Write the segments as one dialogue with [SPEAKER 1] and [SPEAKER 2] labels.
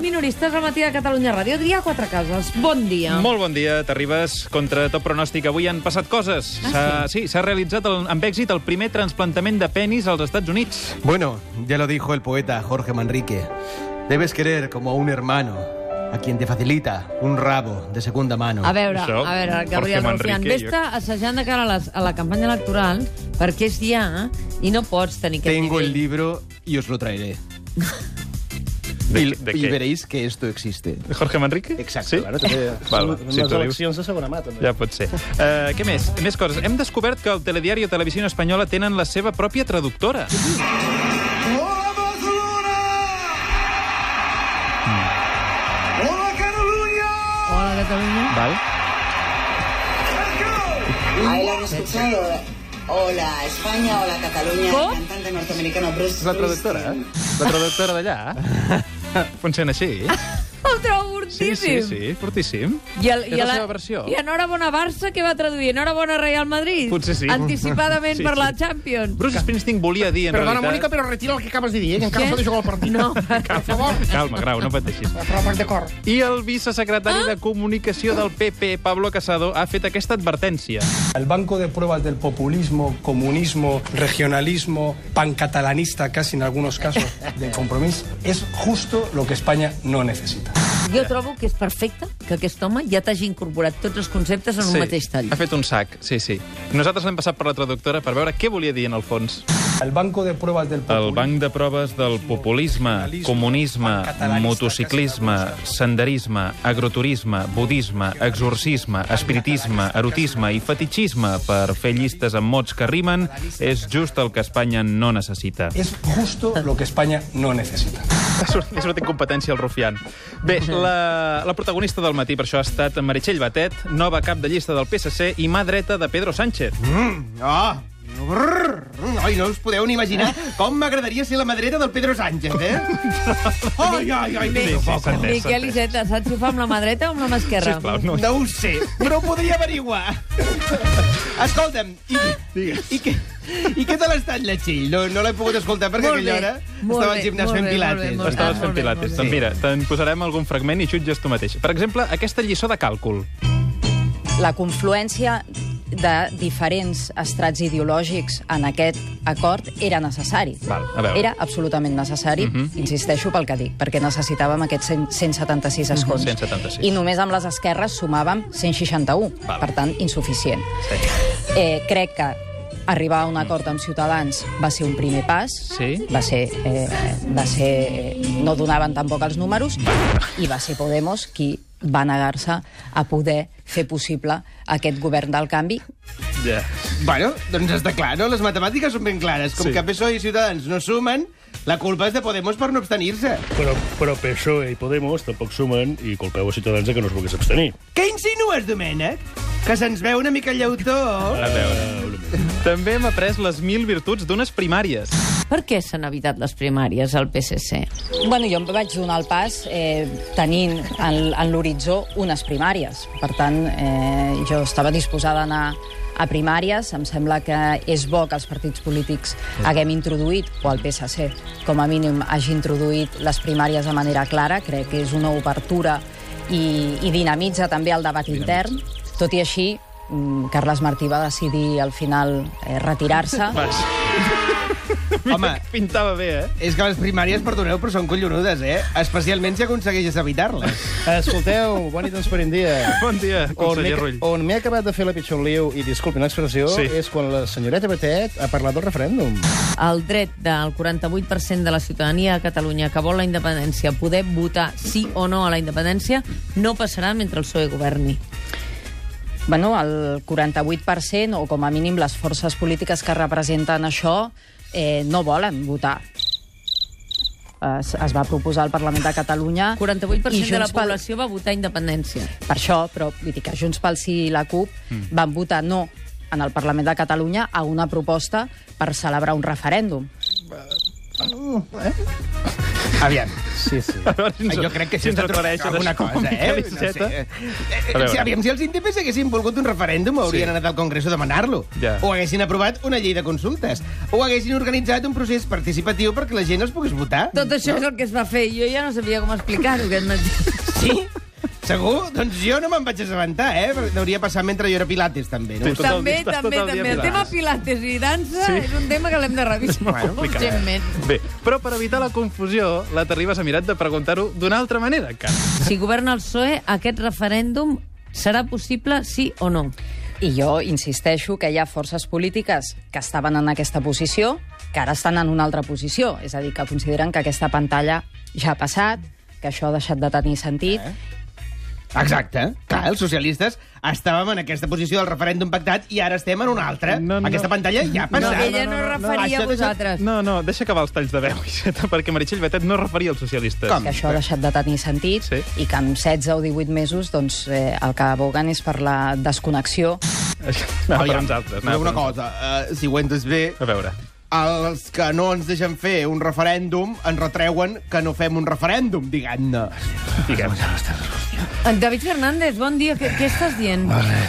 [SPEAKER 1] minoristes al matí de Catalunya Ràdio. Adrià Quatre Cases, bon dia.
[SPEAKER 2] Molt bon dia, t'arribes. Contra tot pronòstic, avui han passat coses.
[SPEAKER 1] Ah,
[SPEAKER 2] S'ha- sí, s'ha realitzat el, amb èxit el primer trasplantament de penis als Estats Units.
[SPEAKER 3] Bueno, ya lo dijo el poeta Jorge Manrique. Debes querer como a un hermano, a quien te facilita un rabo de segunda mano.
[SPEAKER 1] A veure,
[SPEAKER 2] Això,
[SPEAKER 1] a veure,
[SPEAKER 2] Jorge
[SPEAKER 1] Gabriel Rufián,
[SPEAKER 2] Manrique,
[SPEAKER 1] vés-te assajant de cara a, les, a la campanya electoral, perquè és ja i no pots tenir aquest
[SPEAKER 3] Tengo el
[SPEAKER 1] nivell.
[SPEAKER 3] libro y os lo traeré. y, y veréis que esto existe.
[SPEAKER 2] Jorge Manrique?
[SPEAKER 3] Exacte,
[SPEAKER 2] Sí?
[SPEAKER 3] claro, també.
[SPEAKER 2] Val,
[SPEAKER 4] Són
[SPEAKER 2] si
[SPEAKER 4] unes
[SPEAKER 2] tu dius.
[SPEAKER 4] eleccions de segona mà, també.
[SPEAKER 2] Ja pot ser. Uh, què més? Més coses. Hem descobert que el Telediari i Televisió Espanyola tenen la seva pròpia traductora.
[SPEAKER 5] Hola Barcelona! Hola Catalunya!
[SPEAKER 1] Hola, Catalunya.
[SPEAKER 2] Val?
[SPEAKER 5] Let's go!
[SPEAKER 6] Ahí la han escuchado. Hola España, hola Cataluña,
[SPEAKER 1] ¿Cómo?
[SPEAKER 6] el cantante norteamericano Bruce
[SPEAKER 3] És la traductora, eh?
[SPEAKER 6] Springsteen.
[SPEAKER 3] La traductora d'allà. Ah,
[SPEAKER 2] Funciona així?
[SPEAKER 1] Ho trobo
[SPEAKER 2] Sí,
[SPEAKER 1] fortíssim.
[SPEAKER 2] sí, sí, fortíssim.
[SPEAKER 1] I, el,
[SPEAKER 2] És la seva versió.
[SPEAKER 1] I Enhorabona Barça, què va traduir? Enhorabona Real Madrid?
[SPEAKER 2] Potser sí.
[SPEAKER 1] Anticipadament
[SPEAKER 2] Sí,
[SPEAKER 1] per la
[SPEAKER 2] sí.
[SPEAKER 1] Champions.
[SPEAKER 2] Bruce Springsteen volia dir, en
[SPEAKER 4] Perdona, Mònica,
[SPEAKER 2] realitat...
[SPEAKER 4] però retira el que acabes de dir, eh, que encara
[SPEAKER 1] Què?
[SPEAKER 4] s'ha de jugar al partit.
[SPEAKER 1] No.
[SPEAKER 4] Per favor,
[SPEAKER 2] Calma, Grau, no pateixis.
[SPEAKER 4] però per d'acord.
[SPEAKER 2] I el vicesecretari
[SPEAKER 1] Ah?
[SPEAKER 2] de Comunicació del PP, Pablo Casado, ha fet aquesta advertència.
[SPEAKER 7] Al banco de pruebas del populismo, comunismo, regionalismo, pancatalanista casi en algunos casos, del compromiso, es justo lo que España no necesita.
[SPEAKER 1] Jo trobo que és perfecte que aquest home ja t'hagi incorporat tots els conceptes en un mateix tall.
[SPEAKER 2] ha fet un sac, sí, sí. Nosaltres l'hem passat per la traductora per veure què volia dir en el fons.
[SPEAKER 7] Al banco de pruebas del
[SPEAKER 2] El
[SPEAKER 7] populismo.
[SPEAKER 2] banc de proves del populisme, comunisme, motociclisme, senderisme, agroturisme, budisme, exorcisme, espiritisme, erotisme i fetitxisme per fer llistes amb mots que rimen és just el que Espanya no necessita.
[SPEAKER 7] Es justo lo que España no necesita.
[SPEAKER 2] Ha sort- Li ha sortit competència al Rufián. Bé, la, la protagonista del matí per això ha estat Meritxell Batet, nova cap de llista del PSC i mà dreta de Pedro Sánchez.
[SPEAKER 3] Ah! Brrr! Ai, no us podeu ni imaginar com m'agradaria ser la madreta del Pedro Sánchez, eh? Ai, ai, ai,
[SPEAKER 2] Sí, sí, s'ha entès, s'ha
[SPEAKER 1] Miquel
[SPEAKER 2] entès.
[SPEAKER 1] Iceta, saps si ho fa amb la mà dreta o amb la mà esquerra?
[SPEAKER 2] Sisplau, no.
[SPEAKER 3] No ho sé, però ho podria averiguar. Escolta'm, i, i, què, i què te l'ha estat lletxill? No, no l'he pogut escoltar perquè
[SPEAKER 1] Molt
[SPEAKER 3] aquella
[SPEAKER 1] bé,
[SPEAKER 3] hora
[SPEAKER 1] molt
[SPEAKER 3] estava
[SPEAKER 1] bé,
[SPEAKER 3] al gimnàs
[SPEAKER 1] molt
[SPEAKER 3] fent
[SPEAKER 1] bé,
[SPEAKER 3] pilates.
[SPEAKER 1] molt bé, molt bé.
[SPEAKER 2] Estaves
[SPEAKER 1] Ah,
[SPEAKER 2] fent
[SPEAKER 1] molt bé,
[SPEAKER 2] pilates.
[SPEAKER 1] molt bé.
[SPEAKER 2] Doncs mira, te'n posarem algun fragment i jutges tu mateix. Per exemple, aquesta lliçó de càlcul.
[SPEAKER 8] la confluència de diferents estrats ideològics en aquest acord era necessari.
[SPEAKER 2] Val, a veure. Mhm.
[SPEAKER 8] Era absolutament necessari, insisteixo pel que dic, perquè necessitàvem aquests 100, 176
[SPEAKER 2] Mhm.
[SPEAKER 8] escons.
[SPEAKER 2] 176.
[SPEAKER 8] I només amb les esquerres sumàvem 161,
[SPEAKER 2] Val.
[SPEAKER 8] per tant, insuficient. Eh, crec que arribar a un acord amb Ciutadans va ser un primer pas,
[SPEAKER 2] Sí.
[SPEAKER 8] va ser, eh, va ser, eh, no donaven tampoc els números, i va ser Podemos qui va negar-se a poder fer possible aquest govern del canvi.
[SPEAKER 2] Ja.
[SPEAKER 3] Bueno, doncs està clar, no? Les matemàtiques són ben clares. Com
[SPEAKER 2] Sí.
[SPEAKER 3] que PSOE i Ciutadans no sumen, la culpa és de Podemos per no abstenir-se.
[SPEAKER 4] Però, però PSOE E i Podemos tampoc sumen i culpeu a Ciutadans que no es volgués abstenir.
[SPEAKER 3] Què insinues, Domènec? Que se'ns veu una mica el llautó.
[SPEAKER 2] A veure. També hem après les mil virtuts d'unes primàries.
[SPEAKER 1] Per què s'han evitat les primàries al PSC?
[SPEAKER 8] Bueno, jo em vaig donar el pas eh, tenint en, en l'horitzó unes primàries. Per tant, eh, jo estava disposada a anar a primàries. Em sembla que és bo que els partits polítics haguem introduït, o el PSC, com a mínim, hagi introduït les primàries de manera clara. Crec que és una obertura i, i dinamitza també el debat intern. Tot i així, mm, Carles Martí va decidir al final eh, retirar-se.
[SPEAKER 2] Vas.
[SPEAKER 3] Home,
[SPEAKER 2] Pintava bé, eh?
[SPEAKER 3] és que les primàries, perdoneu, però són collonudes, eh? Especialment si aconsegueixes evitar-les.
[SPEAKER 4] Escolteu, bon i transparent dia.
[SPEAKER 2] Bon dia,
[SPEAKER 4] On m'he
[SPEAKER 2] conseller Rull.
[SPEAKER 4] on m'he acabat de fer la pitjor liu, i disculpin l'expressió,
[SPEAKER 2] Sí.
[SPEAKER 4] és quan la senyoreta Batet ha parlat del referèndum.
[SPEAKER 1] El dret del 48% de la ciutadania a Catalunya que vol la independència poder votar sí o no a la independència no passarà mentre el PSOE governi.
[SPEAKER 8] Bueno, el 48%, o com a mínim les forces polítiques que representen això, eh, no volen votar. Es, es va proposar al Parlament de Catalunya...
[SPEAKER 1] 48%
[SPEAKER 8] i
[SPEAKER 1] de la
[SPEAKER 8] Junts pel-
[SPEAKER 1] població va votar independència.
[SPEAKER 8] Per això, però, vull dir que Junts pel Sí i la CUP van votar no en el Parlament de Catalunya a una proposta per celebrar un referèndum.
[SPEAKER 3] Aviam.
[SPEAKER 2] Sí, sí.
[SPEAKER 3] Jo crec que
[SPEAKER 9] si
[SPEAKER 3] sí
[SPEAKER 9] ens
[SPEAKER 3] ens ha trobat
[SPEAKER 9] aclareixes
[SPEAKER 3] alguna
[SPEAKER 9] això,
[SPEAKER 3] cosa, eh? No sé.
[SPEAKER 9] Miquel A
[SPEAKER 3] eh? eh
[SPEAKER 9] veure.
[SPEAKER 3] si, aviam, si els indepes haguessin volgut un referèndum, haurien anat al Congreso a demanar-lo.
[SPEAKER 9] Ja.
[SPEAKER 3] O haguessin aprovat una llei de consultes. O haguessin organitzat un procés participatiu perquè la gent els pogués votar.
[SPEAKER 1] Tot això és el que es va fer. Jo ja no sabia com explicar-ho aquest matí.
[SPEAKER 3] Sí? Segur? Doncs jo no me'n vaig assabentar, eh? Perquè Deuria passar mentre jo era pilates, també. No?
[SPEAKER 9] Sí, tot el
[SPEAKER 1] també,
[SPEAKER 9] dia- estàs
[SPEAKER 1] també,
[SPEAKER 9] tot el dia
[SPEAKER 1] també. El tema pilates i dansa sí. és un tema que l'hem de revisar
[SPEAKER 9] Bueno, complicat.
[SPEAKER 1] urgentment.
[SPEAKER 2] Bé, però per evitar la confusió, la Terribas ha mirat de preguntar-ho d'una altra manera, encara.
[SPEAKER 1] Si governa el PSOE, aquest referèndum serà possible sí o no?
[SPEAKER 8] I jo insisteixo que hi ha forces polítiques que estaven en aquesta posició, que ara estan en una altra posició, és a dir, que consideren que aquesta pantalla ja ha passat, que això ha deixat de tenir sentit, eh?
[SPEAKER 3] Exacte. Clar, els socialistes estàvem en aquesta posició del referèndum pactat i ara estem en una altra.
[SPEAKER 2] No, no.
[SPEAKER 3] Aquesta pantalla ja ha
[SPEAKER 1] No,
[SPEAKER 3] passat.
[SPEAKER 1] ella no, es referia
[SPEAKER 3] Això
[SPEAKER 1] a
[SPEAKER 3] que és el-
[SPEAKER 1] vosaltres.
[SPEAKER 2] No, no, deixa acabar els talls de veu, Iceta, perquè Meritxell Batet no es referia als socialistes.
[SPEAKER 3] Com?
[SPEAKER 8] que això ha deixat de tenir sentit
[SPEAKER 2] Sí.
[SPEAKER 8] i que en 16 o 18 mesos doncs, eh, el que aboguen és per la desconnexió.
[SPEAKER 2] Això Anava per
[SPEAKER 3] Aviam,
[SPEAKER 2] uns altres.
[SPEAKER 3] però
[SPEAKER 2] anava
[SPEAKER 3] una
[SPEAKER 2] per uns
[SPEAKER 3] cosa, eh, si ho entes bé,
[SPEAKER 2] altres. A veure.
[SPEAKER 3] els que no ens deixen fer un referèndum ens retreuen que no fem un referèndum, diguem-ne.
[SPEAKER 2] Diguem.
[SPEAKER 1] En David Fernández, bon dia. Què, què estàs dient?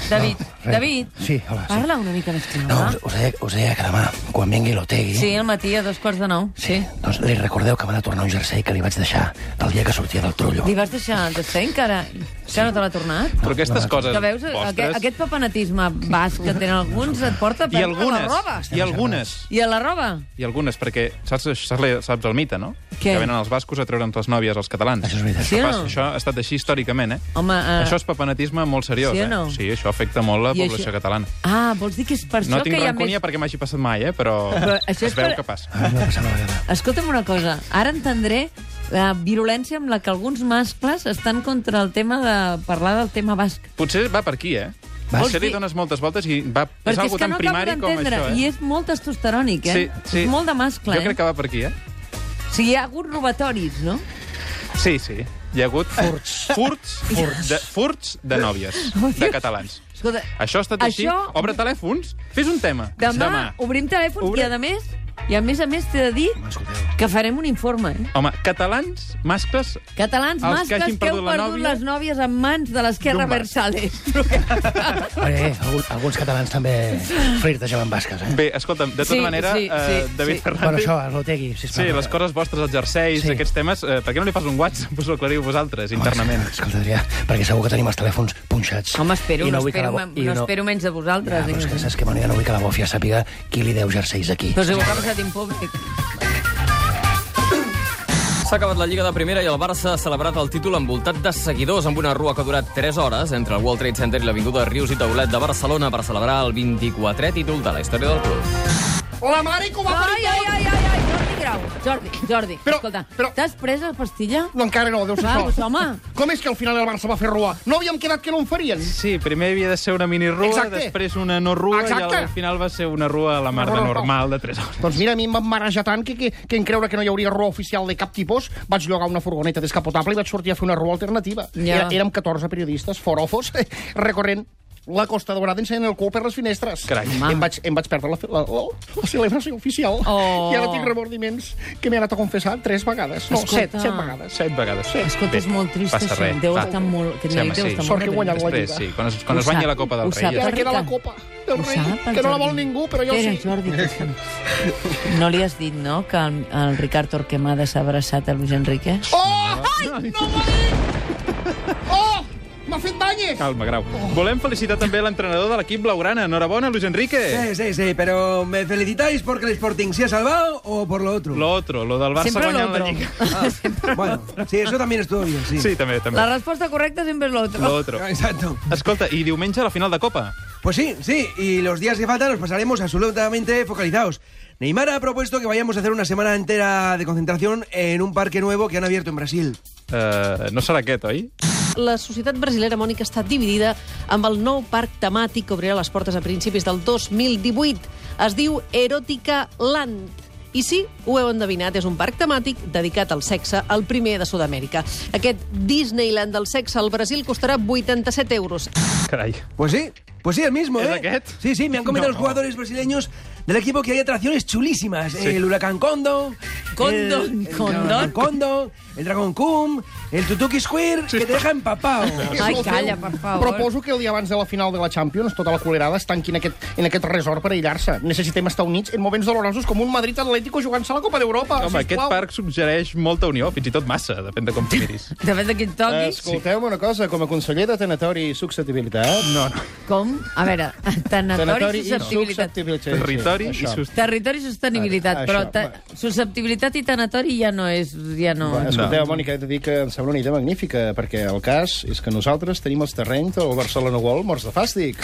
[SPEAKER 1] David, David,
[SPEAKER 10] Sí, hola, sí.
[SPEAKER 1] parla una mica més clar.
[SPEAKER 10] No,
[SPEAKER 4] Ah.
[SPEAKER 10] us, us, deia, us deia que demà, quan vingui l'Otegui...
[SPEAKER 1] Sí, al matí a dos quarts de nou.
[SPEAKER 10] sí. Doncs li recordeu que m'ha de tornar un jersei que li vaig deixar del dia que sortia del trullo.
[SPEAKER 1] Li vas deixar de ser encara? Encara no te l'ha tornat?
[SPEAKER 2] Però aquestes coses
[SPEAKER 1] Que veus, aquest,
[SPEAKER 2] vostres...
[SPEAKER 1] aquest papanatisme basc que tenen alguns et porta a
[SPEAKER 2] I
[SPEAKER 1] perdre la roba.
[SPEAKER 2] algunes, i algunes,
[SPEAKER 1] I a la roba?
[SPEAKER 2] i algunes, perquè saps, saps, la- saps el mite, no?
[SPEAKER 1] Què?
[SPEAKER 2] Que venen els bascos a treure'ns les nòvies als catalans.
[SPEAKER 10] Això és veritat.
[SPEAKER 1] Sí o
[SPEAKER 2] Pas,
[SPEAKER 1] no?
[SPEAKER 2] això ha estat així històricament, eh?
[SPEAKER 1] Home, eh,
[SPEAKER 2] Això és papanatisme molt seriós,
[SPEAKER 1] sí o no?
[SPEAKER 2] eh? Sí, això afecta molt la
[SPEAKER 1] I
[SPEAKER 2] població
[SPEAKER 1] això-
[SPEAKER 2] catalana.
[SPEAKER 1] Ah, vols dir que és per
[SPEAKER 2] No
[SPEAKER 1] això
[SPEAKER 2] tinc
[SPEAKER 1] que hi ha
[SPEAKER 2] rancúnia
[SPEAKER 1] més...
[SPEAKER 2] perquè m'hagi passat mai, eh? Però,
[SPEAKER 1] Però això és
[SPEAKER 2] es veu
[SPEAKER 1] per-
[SPEAKER 2] que passa.
[SPEAKER 10] Ah, no, passava la vegada.
[SPEAKER 1] Escolta'm una cosa, ara entendré la virulència amb la que alguns mascles estan contra el tema de parlar del tema basc.
[SPEAKER 2] Potser va per aquí, eh?
[SPEAKER 1] Vas.
[SPEAKER 2] Potser li dones moltes voltes i va... és
[SPEAKER 1] Perquè és,
[SPEAKER 2] algo
[SPEAKER 1] que
[SPEAKER 2] tan
[SPEAKER 1] no acabo
[SPEAKER 2] primari com
[SPEAKER 1] d'entendre,
[SPEAKER 2] això,
[SPEAKER 1] i
[SPEAKER 2] eh?
[SPEAKER 1] és molt testosterònic, eh?
[SPEAKER 2] Sí, sí.
[SPEAKER 1] És molt de mascle,
[SPEAKER 2] jo crec
[SPEAKER 1] eh?
[SPEAKER 2] que va per aquí, eh?
[SPEAKER 1] O sigui, hi ha hagut robatoris, no?
[SPEAKER 2] Sí, sí. Hi ha hagut furts. Furts, furts. De, furts de nòvies, de catalans.
[SPEAKER 1] Escolta,
[SPEAKER 2] Això ha estat així.
[SPEAKER 1] Això-
[SPEAKER 2] Obre telèfons, fes un tema.
[SPEAKER 1] demà, obrim telèfons
[SPEAKER 2] Obre-
[SPEAKER 1] i, a més, i a més a més t'he de dir que farem un informe, eh?
[SPEAKER 2] Home, catalans, mascles...
[SPEAKER 1] Catalans
[SPEAKER 2] Els que
[SPEAKER 1] mascles que,
[SPEAKER 2] hagin
[SPEAKER 1] heu
[SPEAKER 2] perdut la
[SPEAKER 1] perdut
[SPEAKER 2] nòvia
[SPEAKER 1] les nòvies en mans de l'esquerra
[SPEAKER 2] d'un basc.
[SPEAKER 1] Versales.
[SPEAKER 10] Perquè Eh, algun, alguns catalans també flirtejaven basques, eh?
[SPEAKER 2] Bé, escolta'm, de tota
[SPEAKER 1] Sí,
[SPEAKER 2] manera,
[SPEAKER 1] sí,
[SPEAKER 2] eh,
[SPEAKER 1] sí,
[SPEAKER 2] David
[SPEAKER 1] sí.
[SPEAKER 10] Bueno,
[SPEAKER 2] Fernández...
[SPEAKER 10] això, a l'Otegui, sisplau.
[SPEAKER 2] Sí, les coses vostres, els jerseis,
[SPEAKER 10] Sí.
[SPEAKER 2] aquests temes... Eh, per què no li fas un WhatsApp? Us ho aclariu vosaltres,
[SPEAKER 10] Home,
[SPEAKER 2] internament.
[SPEAKER 10] Escolta, Adrià, perquè segur que tenim els telèfons punxats.
[SPEAKER 1] Home, espero,
[SPEAKER 10] I
[SPEAKER 1] no,
[SPEAKER 10] vull que
[SPEAKER 1] espero,
[SPEAKER 10] la bo-
[SPEAKER 1] no,
[SPEAKER 10] i
[SPEAKER 1] no espero menys de
[SPEAKER 10] Ja,
[SPEAKER 1] vosaltres.
[SPEAKER 10] però és que
[SPEAKER 1] eh?
[SPEAKER 10] saps que, bueno, ja no vull que la bòfia sàpiga qui li deu jerseis aquí.
[SPEAKER 1] Però si ho ha passat en públic.
[SPEAKER 11] S'ha acabat la Lliga de Primera i el Barça ha celebrat el títol envoltat de seguidors amb una rua que ha durat 3 hores entre el World Trade Center i l'Avinguda Rius i Taulet de Barcelona per celebrar el 24è títol de la història del club.
[SPEAKER 3] La mare que ho va
[SPEAKER 1] Ai, ai, ai, ai, ai, Jordi Grau. Jordi, Jordi, però,
[SPEAKER 3] Però-
[SPEAKER 1] escolta,
[SPEAKER 3] però-
[SPEAKER 1] t'has pres la pastilla?
[SPEAKER 3] No, encara no, deu
[SPEAKER 1] Clar, pues, home.
[SPEAKER 3] Com és que al final el Barça va fer roar? No havíem quedat que no en farien?
[SPEAKER 2] Sí, primer havia de ser una minirrua,
[SPEAKER 3] Exacte.
[SPEAKER 2] després una no rua,
[SPEAKER 3] Exacte.
[SPEAKER 2] i al final va ser una rua a la mar de
[SPEAKER 3] Una rua,
[SPEAKER 2] normal de 3 hores.
[SPEAKER 3] Doncs mira, a mi em van marejar tant que, que, que en creure que no hi hauria roa oficial de cap tipus vaig llogar una furgoneta descapotable i vaig sortir a fer una roa alternativa.
[SPEAKER 1] Ja.
[SPEAKER 3] Era, érem 14 periodistes, forofos, recorrent la Costa Daurada ensenyant el cul per les finestres.
[SPEAKER 2] Carai.
[SPEAKER 3] Em vaig, em vaig perdre la, la, la, la celebració oficial.
[SPEAKER 1] Oh.
[SPEAKER 3] I ara tinc remordiments que m'he anat a confessar tres vegades. No,
[SPEAKER 1] Escolta.
[SPEAKER 3] set, set vegades.
[SPEAKER 2] Set vegades. Sí.
[SPEAKER 1] Escolta, és molt trist,
[SPEAKER 2] passa
[SPEAKER 1] això.
[SPEAKER 2] res,
[SPEAKER 1] Deu
[SPEAKER 2] va.
[SPEAKER 1] estar molt- aquest
[SPEAKER 2] Sí,
[SPEAKER 1] noi
[SPEAKER 2] home,
[SPEAKER 1] deu
[SPEAKER 2] sí.
[SPEAKER 1] estar molt
[SPEAKER 3] Sort que he guanyat la
[SPEAKER 2] Després,
[SPEAKER 3] Lliga.
[SPEAKER 2] sí, quan es, quan
[SPEAKER 1] Ho
[SPEAKER 2] es guanyi
[SPEAKER 1] sap,
[SPEAKER 2] la Copa
[SPEAKER 1] ho
[SPEAKER 2] del
[SPEAKER 1] sap,
[SPEAKER 2] Rei.
[SPEAKER 3] Ja
[SPEAKER 2] ja
[SPEAKER 1] perquè-
[SPEAKER 2] està.
[SPEAKER 3] queda la
[SPEAKER 1] Jordi.
[SPEAKER 3] copa del
[SPEAKER 1] Ho
[SPEAKER 3] rei,
[SPEAKER 1] sap, el
[SPEAKER 3] que no la
[SPEAKER 1] Jordi.
[SPEAKER 3] vol ningú, però jo
[SPEAKER 1] Espera,
[SPEAKER 3] sí.
[SPEAKER 1] Jordi, deixa'm. No li has dit, no, que el, el Ricard Torquemada s'ha abraçat a Luis Enrique?
[SPEAKER 3] Oh! Ai! No m'ho ha dit! Oh! M'ha fet banyes!
[SPEAKER 2] Calma, Grau. Volem felicitar també l'entrenador de l'equip blaugrana. Enhorabona, Luis Enrique.
[SPEAKER 10] Sí, sí, sí, pero ¿me felicitáis porque el Sporting se ha salvado o por lo otro? Ah,
[SPEAKER 2] Lo otro, lo del Barça
[SPEAKER 1] Sempre
[SPEAKER 2] guanyant la
[SPEAKER 1] l'otro.
[SPEAKER 2] Lliga.
[SPEAKER 10] Bueno, sí, eso también estuvo bien, sí. Ah,
[SPEAKER 2] Sí, també, també.
[SPEAKER 1] La resposta correcta sempre és l'altra.
[SPEAKER 2] Lo otro.
[SPEAKER 10] Exacto.
[SPEAKER 2] Escolta, i diumenge la final de Copa.
[SPEAKER 10] Pues sí, sí, y los días que faltan los pasaremos absolutamente focalizados. Neymar ha propuesto que vayamos a hacer una semana entera de concentración en un parque nuevo que han abierto en Brasil.
[SPEAKER 2] Uh, no serà aquest, oi?
[SPEAKER 11] La societat brasilera Mònica està dividida amb el nou parc temàtic que obrirà les portes a principis del 2018. Es diu Erotica Land. I sí, ho heu endevinat, és un parc temàtic dedicat al sexe, el primer de Sud-amèrica. Aquest Disneyland del sexe al Brasil costarà 87 euros.
[SPEAKER 2] Carai.
[SPEAKER 10] Pues sí, pues sí, el mismo,
[SPEAKER 2] ¿Es
[SPEAKER 10] ¿eh?
[SPEAKER 2] raquet?
[SPEAKER 10] Sí, sí, me han comentado los jugadores brasileños del equipo que hay atracciones chulísimas. El Huracán Condo,
[SPEAKER 1] Condón,
[SPEAKER 10] el
[SPEAKER 1] condón.
[SPEAKER 10] dragón condón, el dragón cum, el tutuki squir, que te deja empapado.
[SPEAKER 8] Ai, calla, per favor.
[SPEAKER 12] Proposo que el dia abans de la final de la Champions tota la colerada es tanqui en aquest, en aquest resort per aïllar-se. Necessitem estar units en moments dolorosos com un Madrid Atlético jugant-se a la Copa d'Europa.
[SPEAKER 3] Oh,
[SPEAKER 2] Home, aquest parc suggereix molta unió, fins i tot massa, depèn de com t'hi miris.
[SPEAKER 1] Depèn de quin toquis.
[SPEAKER 12] Escolteu-me una cosa, com a conseller de Tanatori i Susceptibilitat...
[SPEAKER 2] No, no.
[SPEAKER 1] Com? A veure,
[SPEAKER 12] Tanatori
[SPEAKER 1] tanatori
[SPEAKER 12] i
[SPEAKER 1] i susceptibilitat.
[SPEAKER 12] susceptibilitat.
[SPEAKER 2] Territori i
[SPEAKER 12] això.
[SPEAKER 2] sust-
[SPEAKER 1] Territori i sostenibilitat,
[SPEAKER 12] Ara,
[SPEAKER 1] però
[SPEAKER 12] això,
[SPEAKER 1] ta... susceptibilitat i tanatori ja no és... Ja no...
[SPEAKER 12] Va, Escolteu, no. Mònica, he de dir que em sembla una idea magnífica, perquè el cas és que nosaltres tenim els terrenys del Barcelona World morts de fàstic.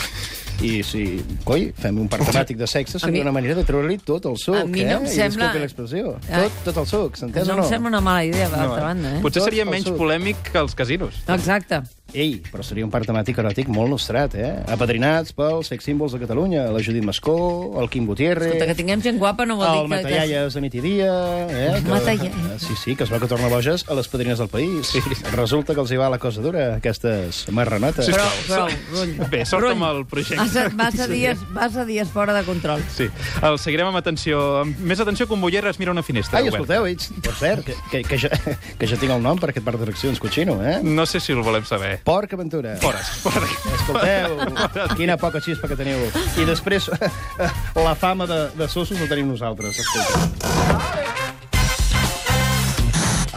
[SPEAKER 12] I si, coi, fem un parc temàtic de sexe,
[SPEAKER 1] mi-
[SPEAKER 12] seria una manera de treure-li tot el suc,
[SPEAKER 1] A mi
[SPEAKER 12] eh?
[SPEAKER 1] no em
[SPEAKER 12] I
[SPEAKER 1] sembla-
[SPEAKER 12] disculpi l'expressió.
[SPEAKER 1] Ai.
[SPEAKER 12] Tot, tot el suc, s'entès
[SPEAKER 1] No
[SPEAKER 12] o
[SPEAKER 1] em
[SPEAKER 12] no?
[SPEAKER 1] sembla una mala idea,
[SPEAKER 12] No,
[SPEAKER 1] per
[SPEAKER 12] eh?
[SPEAKER 1] l'altra banda, eh?
[SPEAKER 2] Potser
[SPEAKER 12] Tot
[SPEAKER 2] seria
[SPEAKER 12] al
[SPEAKER 2] menys
[SPEAKER 12] sud.
[SPEAKER 2] polèmic que els casinos.
[SPEAKER 1] Exacte.
[SPEAKER 12] Ei, però seria un parc temàtic eròtic molt nostrat, eh? Apadrinats pels sex símbols de Catalunya, la Judit Mascó, el Quim Gutiérrez...
[SPEAKER 1] Escolta, que tinguem gent guapa no vol
[SPEAKER 12] El
[SPEAKER 1] dir que... que...
[SPEAKER 12] Matallaies a migdia... Eh,
[SPEAKER 1] Matallaies.
[SPEAKER 12] Sí, sí, que es va que torna boges a les padrines del país. Sí. Resulta que els hi va la cosa dura, aquestes marranotes.
[SPEAKER 1] Prou, prou, rull.
[SPEAKER 2] Bé, sort amb el
[SPEAKER 1] Vas a,
[SPEAKER 2] projecte.
[SPEAKER 1] vas, a dies, vas a dies fora de control.
[SPEAKER 2] Sí, el seguirem amb atenció. Amb més atenció que un boller es mira una finestra.
[SPEAKER 12] Ai,
[SPEAKER 2] oberta.
[SPEAKER 12] escolteu, ets, per cert, que, que, que, ja, que ja tinc el nom per aquest parc d'atraccions, Cochino, eh?
[SPEAKER 2] No sé si el volem saber.
[SPEAKER 12] Porc Aventura.
[SPEAKER 2] Fores, fora.
[SPEAKER 12] Escolteu, quina poca xispa que teniu. I després, la fama de, de sossos la tenim nosaltres. Escolta.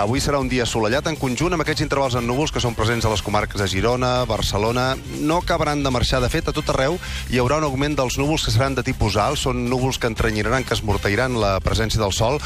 [SPEAKER 13] Avui serà un dia assolellat en conjunt amb aquests intervals en núvols que són presents a les comarques de Girona, Barcelona. No acabaran de marxar. De fet, a tot arreu hi haurà un augment dels núvols que seran de tipus alt. Són núvols que entrenyinaran, que esmorteiran la presència del sol.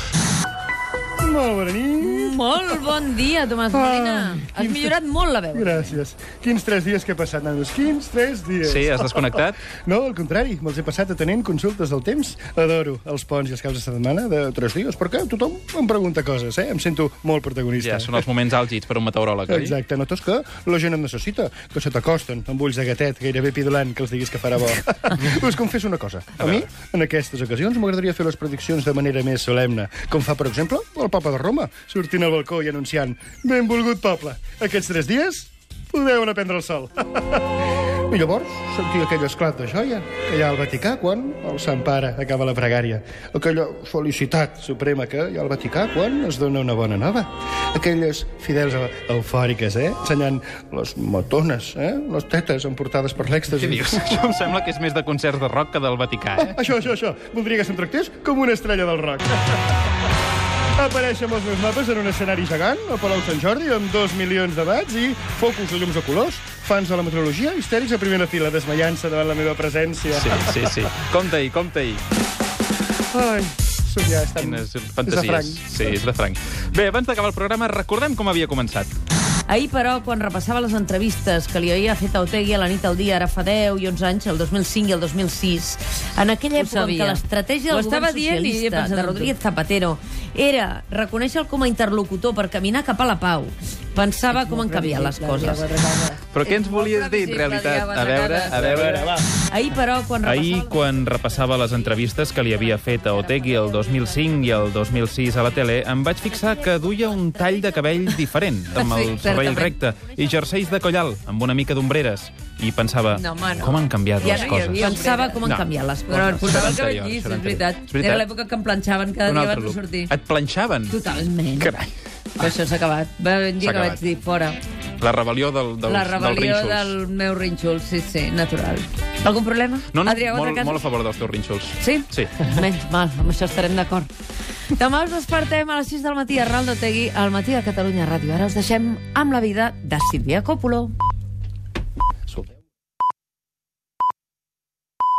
[SPEAKER 4] Molt bona nit.
[SPEAKER 1] Molt bon dia, Tomàs Molina. Has millorat molt la veu.
[SPEAKER 4] Gràcies. Quins tres dies que he passat, nanos? Quins tres dies?
[SPEAKER 2] Sí, has desconnectat?
[SPEAKER 4] No, al contrari. Me'ls he passat atenent consultes del temps. Adoro els ponts i els caps de setmana de tres dies. Per què? Tothom em pregunta coses, eh? Em sento molt protagonista.
[SPEAKER 2] Ja, són els moments àlgids per un meteoròleg, oi?
[SPEAKER 4] Exacte, notes que la gent em necessita, que se t'acosten amb ulls de gatet, gairebé pidolant, que els diguis que farà bo. Us confesso una cosa. A mi, en aquestes ocasions, m'agradaria fer les prediccions de manera més solemne, com fa, per exemple, el papa de Roma, sortint al balcó i anunciant «Benvolgut poble, aquests tres dies podeu anar a prendre el sol». I llavors sentia aquell esclat de joia que hi ha al Vaticà quan el Sant Pare acaba la pregària. Aquella felicitat suprema que hi ha al Vaticà quan es dona una bona nova. Aquelles fidels eu- eufòriques, eh? Ensenyant les matones, eh? Les tetes emportades per l'èxtasi.
[SPEAKER 2] Què dius? Això em sembla que és més de concerts de rock que del Vaticà, eh?
[SPEAKER 4] Això, això, això. Voldria que se'm tractés com una estrella del rock. Apareixen els meus mapes en un escenari gegant, a Palau Sant Jordi, amb dos milions de bats i focus de llums de colors, fans de la meteorologia, histèrics a primera fila, desmaiant-se davant la meva presència.
[SPEAKER 2] Sí, sí, sí. Compte-hi, compte-hi.
[SPEAKER 4] Ai, somiar és tan...
[SPEAKER 2] Quines
[SPEAKER 4] És de
[SPEAKER 2] fantasies.
[SPEAKER 4] franc.
[SPEAKER 2] Sí, és de franc. Bé, abans d'acabar el programa, recordem com havia començat.
[SPEAKER 1] Ahir, però, quan repassava les entrevistes que li havia fet a Otegui a la nit al dia, ara fa 10 i 11 anys, el 2005 i el 2006, en aquella
[SPEAKER 8] Ho
[SPEAKER 1] època en
[SPEAKER 8] sabia.
[SPEAKER 1] què l'estratègia
[SPEAKER 8] Ho
[SPEAKER 1] del
[SPEAKER 8] estava
[SPEAKER 1] govern
[SPEAKER 8] dient i he
[SPEAKER 1] socialista
[SPEAKER 8] pensat en
[SPEAKER 1] de
[SPEAKER 8] tu.
[SPEAKER 1] Rodríguez Zapatero era reconèixer-lo com a interlocutor per caminar cap a la pau, pensava com han canviat les coses.
[SPEAKER 2] Però què ens volies dir, en realitat? A veure, a veure...
[SPEAKER 1] Ahir, però, quan
[SPEAKER 9] Ahir,
[SPEAKER 1] repassava...
[SPEAKER 9] quan repassava les entrevistes que li havia fet a Otegui el 2005 i el 2006 a la tele, em vaig fixar que duia un tall de cabell diferent, amb
[SPEAKER 1] Sí,
[SPEAKER 9] el cervell
[SPEAKER 1] certament.
[SPEAKER 9] recte, i jerseis de collal, amb una mica d'ombreres. I pensava,
[SPEAKER 1] No, home, no.
[SPEAKER 9] com han canviat
[SPEAKER 1] Ja
[SPEAKER 9] les
[SPEAKER 1] no hi havia
[SPEAKER 9] coses.
[SPEAKER 1] Pensava com han
[SPEAKER 9] No.
[SPEAKER 1] canviat les
[SPEAKER 9] No,
[SPEAKER 1] coses.
[SPEAKER 9] no, això era
[SPEAKER 1] el cabell
[SPEAKER 9] anterior,
[SPEAKER 1] llis,
[SPEAKER 9] això era
[SPEAKER 1] és veritat.
[SPEAKER 9] anterior. És veritat.
[SPEAKER 1] Era l'època que em planxaven cada
[SPEAKER 2] Un
[SPEAKER 1] dia
[SPEAKER 2] altre
[SPEAKER 1] abans de
[SPEAKER 2] look.
[SPEAKER 1] sortir.
[SPEAKER 2] Et planxaven?
[SPEAKER 1] Totalment.
[SPEAKER 2] Carai.
[SPEAKER 1] Però això s'ha acabat. Va haver un dia
[SPEAKER 2] S'ha
[SPEAKER 1] que vaig
[SPEAKER 2] acabat.
[SPEAKER 1] dir, fora.
[SPEAKER 2] La rebel·lió del, del,
[SPEAKER 1] la rebel·lió
[SPEAKER 2] del
[SPEAKER 1] del,
[SPEAKER 2] rínxols.
[SPEAKER 1] meu rínxol, sí, sí, natural. Algun problema?
[SPEAKER 2] No, no,
[SPEAKER 1] Adrià,
[SPEAKER 2] molt,
[SPEAKER 1] altre
[SPEAKER 2] molt a favor dels teus rínxols.
[SPEAKER 1] Sí?
[SPEAKER 2] Sí.
[SPEAKER 1] Menys mal, amb això estarem d'acord. Demà us despertem a les 6 del matí a Raldo Tegui, al matí de Catalunya Ràdio. Ara us deixem amb la vida de Sílvia Coppolo.